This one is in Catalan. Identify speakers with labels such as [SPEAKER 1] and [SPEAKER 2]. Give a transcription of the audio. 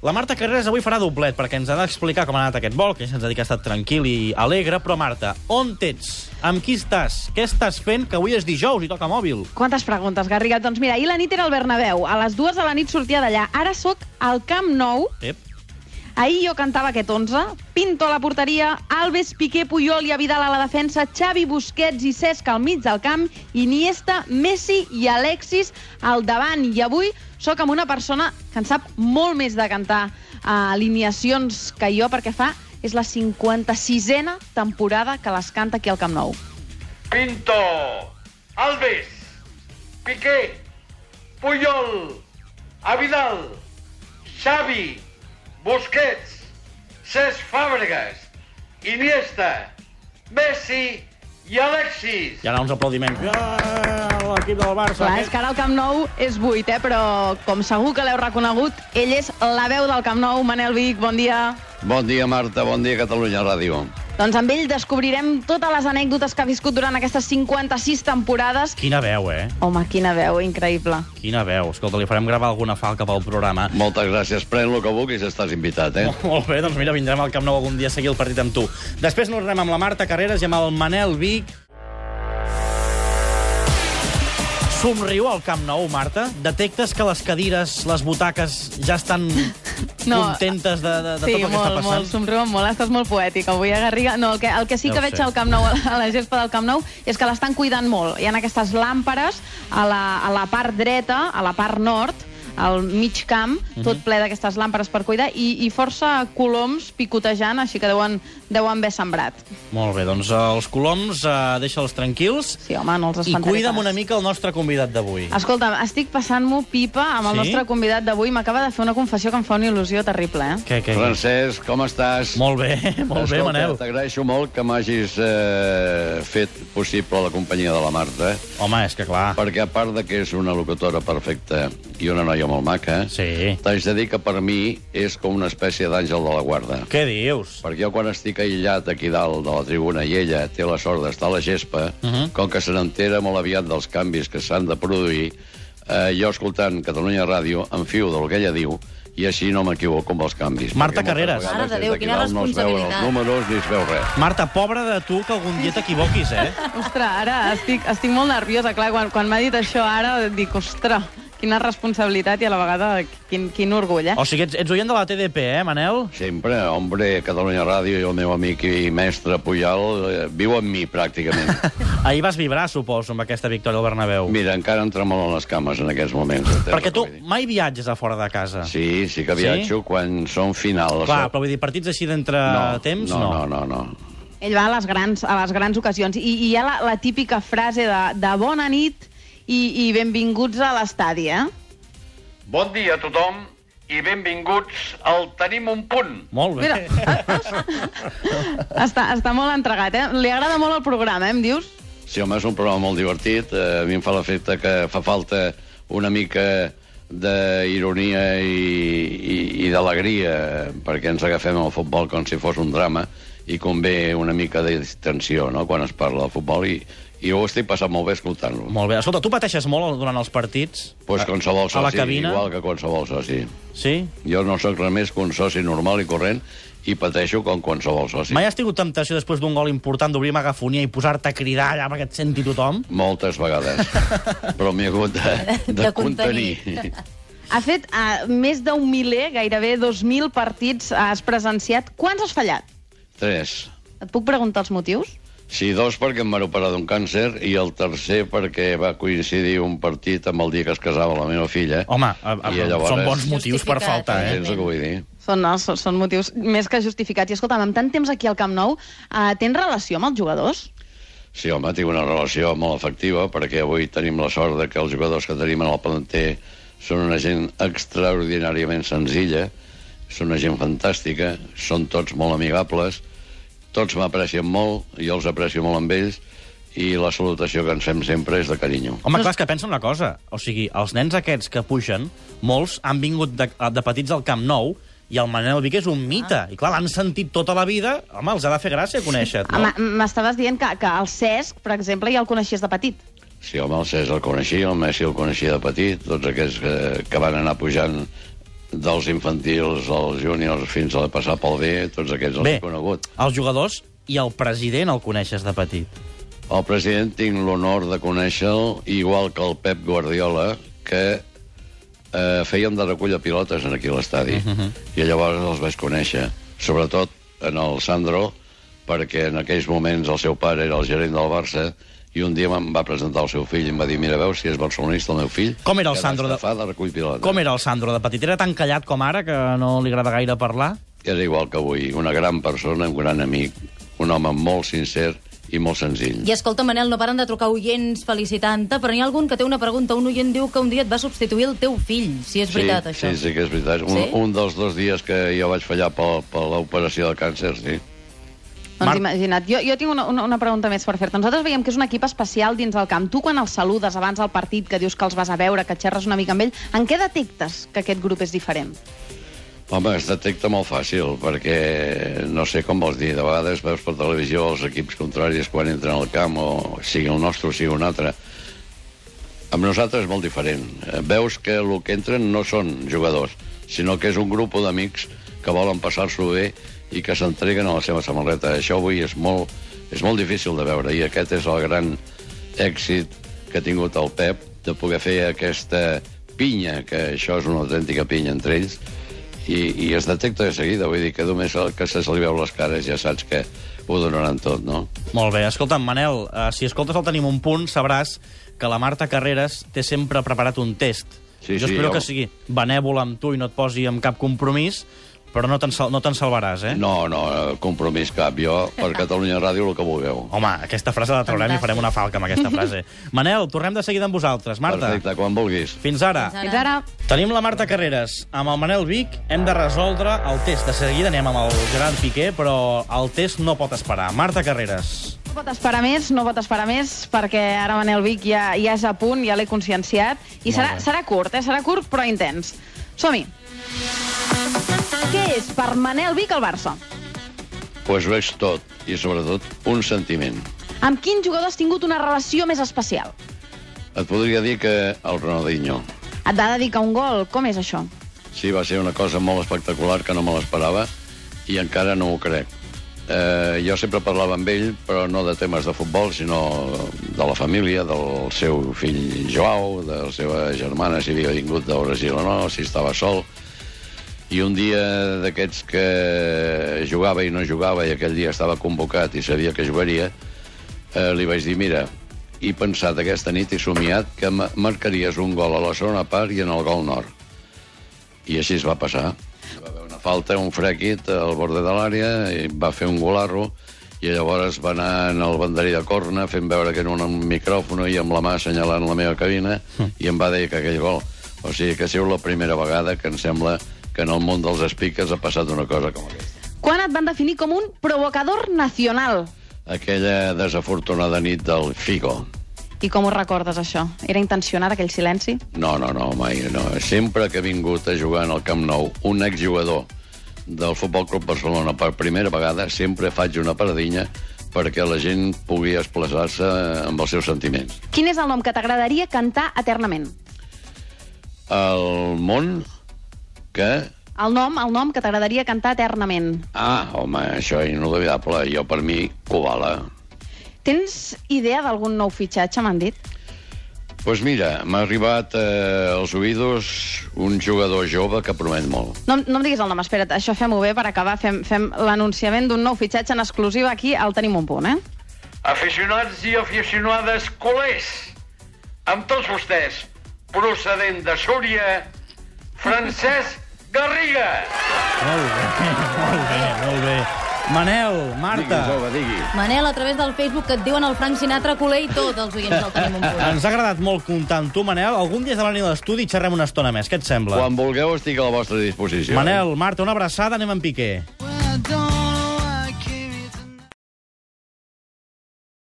[SPEAKER 1] La Marta Carreras avui farà doblet, perquè ens ha d'explicar com ha anat aquest vol, que ja se'ns ha dit que ha estat tranquil i alegre, però Marta, on t'ets? Amb qui estàs? Què estàs fent? Que avui és dijous i toca mòbil.
[SPEAKER 2] Quantes preguntes, Garriga? Doncs mira, ahir la nit era al Bernabéu, a les dues de la nit sortia d'allà, ara sóc al Camp Nou,
[SPEAKER 1] Ep.
[SPEAKER 2] ahir jo cantava aquest 11, Pinto a la porteria, Alves, Piqué, Puyol i Vidal a la defensa, Xavi, Busquets i Cesc al mig del camp, Iniesta, Messi i Alexis al davant. I avui sóc amb una persona que en sap molt més de cantar eh, alineacions que jo, perquè fa és la 56a temporada que les canta aquí al Camp Nou.
[SPEAKER 3] Pinto, Alves, Piqué, Puyol, Avidal, Xavi, Busquets, Cesc Fàbregas, Iniesta, Messi i Alexis.
[SPEAKER 1] I ara uns aplaudiments. Ah, L'equip del Barça.
[SPEAKER 2] Clar, és que ara el Camp Nou és buit, eh? però com segur que l'heu reconegut, ell és la veu del Camp Nou. Manel Vic, bon dia.
[SPEAKER 4] Bon dia, Marta. Bon dia, Catalunya Ràdio.
[SPEAKER 2] Doncs amb ell descobrirem totes les anècdotes que ha viscut durant aquestes 56 temporades.
[SPEAKER 1] Quina veu, eh?
[SPEAKER 2] Home, quina veu, increïble.
[SPEAKER 1] Quina veu. Escolta, li farem gravar alguna falca pel programa.
[SPEAKER 4] Moltes gràcies. Pren el que vulguis, estàs invitat, eh?
[SPEAKER 1] Molt bé, doncs mira, vindrem al Camp Nou algun dia a seguir el partit amb tu. Després no anem amb la Marta Carreras i amb el Manel Vic. Somriu al Camp Nou, Marta? Detectes que les cadires, les butaques, ja estan
[SPEAKER 2] No,
[SPEAKER 1] contentes de, de, de tot
[SPEAKER 2] sí,
[SPEAKER 1] el que
[SPEAKER 2] molt,
[SPEAKER 1] està passant?
[SPEAKER 2] molt, somriuen molt, estàs molt poètic avui, eh, Garriga? No, el que, el que sí que
[SPEAKER 1] Ja ho
[SPEAKER 2] veig
[SPEAKER 1] sé.
[SPEAKER 2] al Camp Nou, a la gespa del Camp Nou, és que l'estan cuidant molt. Hi ha aquestes làmperes a la, a la part dreta, a la part nord, al mig camp,
[SPEAKER 1] Mhm.
[SPEAKER 2] tot ple d'aquestes làmperes per cuidar, i, i força coloms picotejant, així que deuen, deuen haver sembrat.
[SPEAKER 1] molt bé, doncs eh, els coloms, eh, deixa'ls tranquils
[SPEAKER 2] Sí, home, no els
[SPEAKER 1] i
[SPEAKER 2] espantaré Ah.
[SPEAKER 1] cuida'm
[SPEAKER 2] pas.
[SPEAKER 1] una mica el nostre convidat d'avui.
[SPEAKER 2] Escolta, estic passant-m'ho pipa amb el
[SPEAKER 1] Sí?
[SPEAKER 2] nostre convidat d'avui. M'acaba de fer una confessió que em fa una il·lusió terrible, eh?
[SPEAKER 1] Què, què? què?
[SPEAKER 4] Francesc, com estàs?
[SPEAKER 1] Molt bé, molt bé, Manel.
[SPEAKER 4] T'agraeixo molt que m'hagis eh, fet possible la companyia de la Marta, eh?
[SPEAKER 1] Home, és que clar...
[SPEAKER 4] perquè a part de que és una locutora perfecta i una noia molt maca,
[SPEAKER 1] Sí.
[SPEAKER 4] t'haig de dir que per mi és com una espècie d'àngel de la guarda.
[SPEAKER 1] Què dius?
[SPEAKER 4] Perquè jo quan estic aïllat aquí dalt de la tribuna i ella té la sort d'estar a la gespa, uh
[SPEAKER 1] Mhm.
[SPEAKER 4] -huh. com que se n'entera molt aviat dels canvis que s'han de produir, eh, jo escoltant Catalunya Ràdio em fio del que ella diu i així no m'equivoco amb els canvis.
[SPEAKER 1] Marta
[SPEAKER 4] Perquè moltes
[SPEAKER 1] Carreras.
[SPEAKER 4] vegades
[SPEAKER 5] Mare de
[SPEAKER 4] des
[SPEAKER 5] Déu,
[SPEAKER 4] d'aquí
[SPEAKER 5] quina
[SPEAKER 4] dalt no es veuen els
[SPEAKER 5] responsabilitat.
[SPEAKER 4] números ni es veu res.
[SPEAKER 1] Marta, pobra de tu, que algun dia t'equivoquis, eh?
[SPEAKER 2] Ostres, ara estic, estic molt nerviosa. Clar, quan, quan m'ha dit això ara, dic, ostres, quina responsabilitat i a la vegada quin, quin orgull, eh?
[SPEAKER 1] O sigui, ets, ets oient de la TDP, eh, Manel?
[SPEAKER 4] Sempre, hombre, Catalunya Ràdio i el meu amic i mestre Pujal eh, viu amb mi, pràcticament.
[SPEAKER 1] Ahir vas vibrar, suposo, amb aquesta victòria al Bernabéu.
[SPEAKER 4] Mira, encara em tremolen les cames en aquests moments. eh,
[SPEAKER 1] Perquè tu mai viatges a fora de casa.
[SPEAKER 4] Sí, sí que
[SPEAKER 1] Sí?
[SPEAKER 4] viatjo quan són finals. eh.
[SPEAKER 1] Clar, però vull dir, partits així d'entre
[SPEAKER 4] no,
[SPEAKER 1] Eh, temps,
[SPEAKER 4] no, no, no, no.
[SPEAKER 2] Ell va a les grans, a les grans ocasions. I, i hi ha la, la típica frase de, de bona nit i, i benvinguts a l'estadi, eh?
[SPEAKER 3] Bon dia a tothom i benvinguts al Tenim un punt.
[SPEAKER 1] Molt bé.
[SPEAKER 2] Mira, està, està molt entregat, eh? Li agrada molt el programa, eh, em dius?
[SPEAKER 4] Sí, home, és un programa molt divertit. Eh, A mi em fa l'efecte que fa falta una mica d'ironia i, i, i d'alegria, perquè ens agafem al futbol com si fos un drama, i convé una mica de distensió no?, quan es parla de futbol, i, i ho estic passant molt bé escoltant-lo.
[SPEAKER 1] Molt bé. Escolta, tu pateixes molt durant els partits?
[SPEAKER 4] Pues qualsevol
[SPEAKER 1] A la
[SPEAKER 4] soci,
[SPEAKER 1] cabina?
[SPEAKER 4] igual que qualsevol soci.
[SPEAKER 1] Sí?
[SPEAKER 4] Jo no sóc res més que un soci normal i corrent, i pateixo com qualsevol soci.
[SPEAKER 1] Mai has tingut temptació després d'un gol important d'obrir megafonia i posar-te a cridar allà perquè et senti tothom?
[SPEAKER 4] Moltes vegades. Però m'he hagut de, de,
[SPEAKER 5] De
[SPEAKER 4] contenir.
[SPEAKER 5] contenir.
[SPEAKER 2] Ha fet uh, més d'un miler, gairebé 2.000 partits has presenciat. Quants has fallat?
[SPEAKER 4] Tres.
[SPEAKER 2] Et puc preguntar els motius?
[SPEAKER 4] Sí, dos perquè em van operar d'un càncer i el tercer perquè va coincidir un partit amb el dia que es casava la meva filla.
[SPEAKER 1] Home, a, a,
[SPEAKER 4] I llavors-
[SPEAKER 1] són bons motius per
[SPEAKER 5] Justificat,
[SPEAKER 1] faltar, eh?
[SPEAKER 5] eh?
[SPEAKER 4] Entens el que vull dir?
[SPEAKER 2] Són, no, són, són motius més que justificats. I escolta'm, amb tant temps aquí al Camp Nou, uh, tens relació amb els jugadors?
[SPEAKER 4] Sí, home, tinc una relació molt efectiva perquè avui tenim la sort de que els jugadors que tenim en el planter són una gent extraordinàriament senzilla, són una gent fantàstica, són tots molt amigables, tots m'aprecien molt, jo els aprecio molt amb ells, i la salutació que ens fem sempre és de carinyo.
[SPEAKER 1] Home, clar, és que pensa una cosa. O sigui, els nens aquests que pugen, molts han vingut de, eh, de petits al Camp Nou i el Manel Vic és un mite. I clar, l'han sentit tota la vida. Home, els ha de fer gràcia conèixer-te.
[SPEAKER 2] No. M'estaves dient que, que el Cesc, per exemple, ja el coneixies de petit.
[SPEAKER 4] Sí, home, el Cesc el coneixia, el Messi el coneixia de petit, tots aquests que, que van anar pujant dels infantils als júniors fins a passar pel B, tots aquests els
[SPEAKER 1] Bé,
[SPEAKER 4] he conegut.
[SPEAKER 1] els jugadors i el president el coneixes de petit.
[SPEAKER 4] El president tinc l'honor de conèixer-lo, igual que el Pep Guardiola, que eh, fèiem de recull de pilotes en aquí a l'estadi. Uh -huh.
[SPEAKER 1] Mm-hmm.
[SPEAKER 4] I llavors els vaig conèixer, sobretot en el Sandro, perquè en aquells moments el seu pare era el gerent del Barça, i un dia em va presentar el seu fill i em va dir, mira, veus, si és barcelonista el meu fill...
[SPEAKER 1] Com era el
[SPEAKER 4] que
[SPEAKER 1] Sandro de-
[SPEAKER 4] d'estafar De... recull pilota.
[SPEAKER 1] Com era el Sandro de petit? Era tan callat com ara que no li agrada gaire parlar?
[SPEAKER 4] Era igual que avui, una gran persona, un gran amic, un home molt sincer i molt senzill.
[SPEAKER 5] I escolta, Manel, no paren de trucar oients felicitant-te, però n'hi ha algun que té una pregunta. Un oient diu que un dia et va substituir el teu fill, si és veritat,
[SPEAKER 4] sí,
[SPEAKER 5] això.
[SPEAKER 4] Sí, sí que és veritat. Un,
[SPEAKER 5] Sí?
[SPEAKER 4] un dels dos dies que jo vaig fallar per, per l'operació de càncer, sí.
[SPEAKER 2] Doncs
[SPEAKER 1] Marc-
[SPEAKER 2] imagina't, jo, jo tinc una, una, una pregunta més per fer-te. Nosaltres veiem que és un equip especial dins del camp. Tu, quan els saludes abans del partit, que dius que els vas a veure, que xerres una mica amb ell, en què detectes que aquest grup és diferent?
[SPEAKER 4] Home, es detecta molt fàcil, perquè no sé com vols dir, de vegades veus per televisió els equips contraris quan entren al camp, o sigui el nostre o sigui un altre. Amb nosaltres és molt diferent. Eh, Veus que el que entren no són jugadors, sinó que és un grup d'amics que volen passar-s'ho bé i que s'entreguen a la seva samarreta. Això avui és molt, és molt difícil de veure, i aquest és el gran èxit que ha tingut el Pep, de poder fer aquesta pinya, que això és una autèntica pinya entre ells, i, i es detecta de seguida, vull dir que només el que se li veu les cares ja saps que ho donaran tot, no?
[SPEAKER 1] Molt bé. Escolta'm, Manel, eh, si escoltes el Tenim un punt, sabràs que la Marta Carreras té sempre preparat un test.
[SPEAKER 4] Sí,
[SPEAKER 1] jo
[SPEAKER 4] sí,
[SPEAKER 1] espero
[SPEAKER 4] jo-
[SPEAKER 1] que sigui benèvola amb tu i no et posi en cap compromís, però no te'n sal no te'n salvaràs, eh?
[SPEAKER 4] No, no, eh, compromís cap. Jo, per Catalunya Ràdio, el que vulgueu.
[SPEAKER 1] Home, aquesta frase la traurem i
[SPEAKER 5] Fantàstic.
[SPEAKER 1] farem una falca amb aquesta frase. Manel, tornem de seguida amb vosaltres. Marta,
[SPEAKER 4] Perfecte, quan vulguis.
[SPEAKER 1] fins ara.
[SPEAKER 5] Fins
[SPEAKER 2] Fins ara.
[SPEAKER 1] Tenim la Marta Carreras. Amb el Manel Vic hem de resoldre el test. De seguida anem amb el Gerard Piqué, però el test no pot esperar. Marta Carreras.
[SPEAKER 2] No pot esperar més, no pot esperar més, perquè ara Manel Vic ja, ja és a punt, ja l'he conscienciat, i serà,
[SPEAKER 1] bé.
[SPEAKER 2] serà curt, eh? serà curt però intens. Som-hi. Què és per Manel Vic el Barça?
[SPEAKER 4] Doncs pues ho és tot, i sobretot un sentiment.
[SPEAKER 2] Amb quin jugador has tingut una relació més especial?
[SPEAKER 4] Et podria dir que el Ronaldinho
[SPEAKER 2] Et va dedicar un gol, com és això?
[SPEAKER 4] sí, va ser una cosa molt espectacular que no me l'esperava i encara no ho crec. Eh, jo sempre parlava amb ell, però no de temes de futbol, sinó de la família, del seu fill Joao, de la seva germana, si havia vingut de Brasil o no, si estava sol. I un dia d'aquests que jugava i no jugava, i aquell dia estava convocat i sabia que jugaria, eh, li vaig dir, mira, he pensat aquesta nit i somiat que ma- marcaries un gol a la segona part i en el gol nord. I així es va passar. Hi va haver una falta, un frequit al borde de l'àrea, i va fer un golarro, i llavors va anar en el banderí de corna fent veure que era un micròfon i amb la mà assenyalant la meva cabina, i em va dir que aquell gol. O sigui que siu la primera vegada que em sembla que en el món dels speakers ha passat una cosa com aquesta.
[SPEAKER 2] Quan et van definir com un provocador nacional?
[SPEAKER 4] Aquella desafortunada nit del Figo.
[SPEAKER 2] I com ho recordes, això? Era intencionat, aquell silenci?
[SPEAKER 4] No, no, no, mai no. Sempre que ha vingut a jugar en el Camp Nou un exjugador del Futbol Club Barcelona per primera vegada, sempre faig una paradinha perquè la gent pugui expressar-se amb els seus sentiments.
[SPEAKER 2] Quin és el nom que t'agradaria cantar eternament?
[SPEAKER 4] El món que...
[SPEAKER 2] El nom, el nom que t'agradaria cantar eternament.
[SPEAKER 4] Ah, home, això és inolvidable. Jo, per mi, Kubala.
[SPEAKER 2] Tens idea d'algun nou fitxatge, m'han dit?
[SPEAKER 4] Doncs pues mira, m'ha arribat eh, als oïdos un jugador jove que promet molt.
[SPEAKER 2] No, em- no em diguis el nom, espera't, això fem-ho bé per acabar. Fem, fem l'anunciament d'un nou fitxatge en exclusiva aquí, el tenim un punt, eh?
[SPEAKER 3] Aficionats i aficionades culers, amb tots vostès, procedent de Súria, Francesc Garriga.
[SPEAKER 1] Molt bé, molt bé, molt bé. Manel, Marta,
[SPEAKER 4] Digui, jove, digui.
[SPEAKER 5] Manel, a través del Facebook que et diuen el Frank Sinatra culer i tot, els oients del tenim un punt.
[SPEAKER 1] ens ha agradat molt comptar amb tu, Manel. Algun dia has de venir a l'estudi i xerrem una estona més. Què et sembla?
[SPEAKER 4] Quan vulgueu, estic a la vostra disposició.
[SPEAKER 1] Manel, Marta, una abraçada, anem amb Piqué.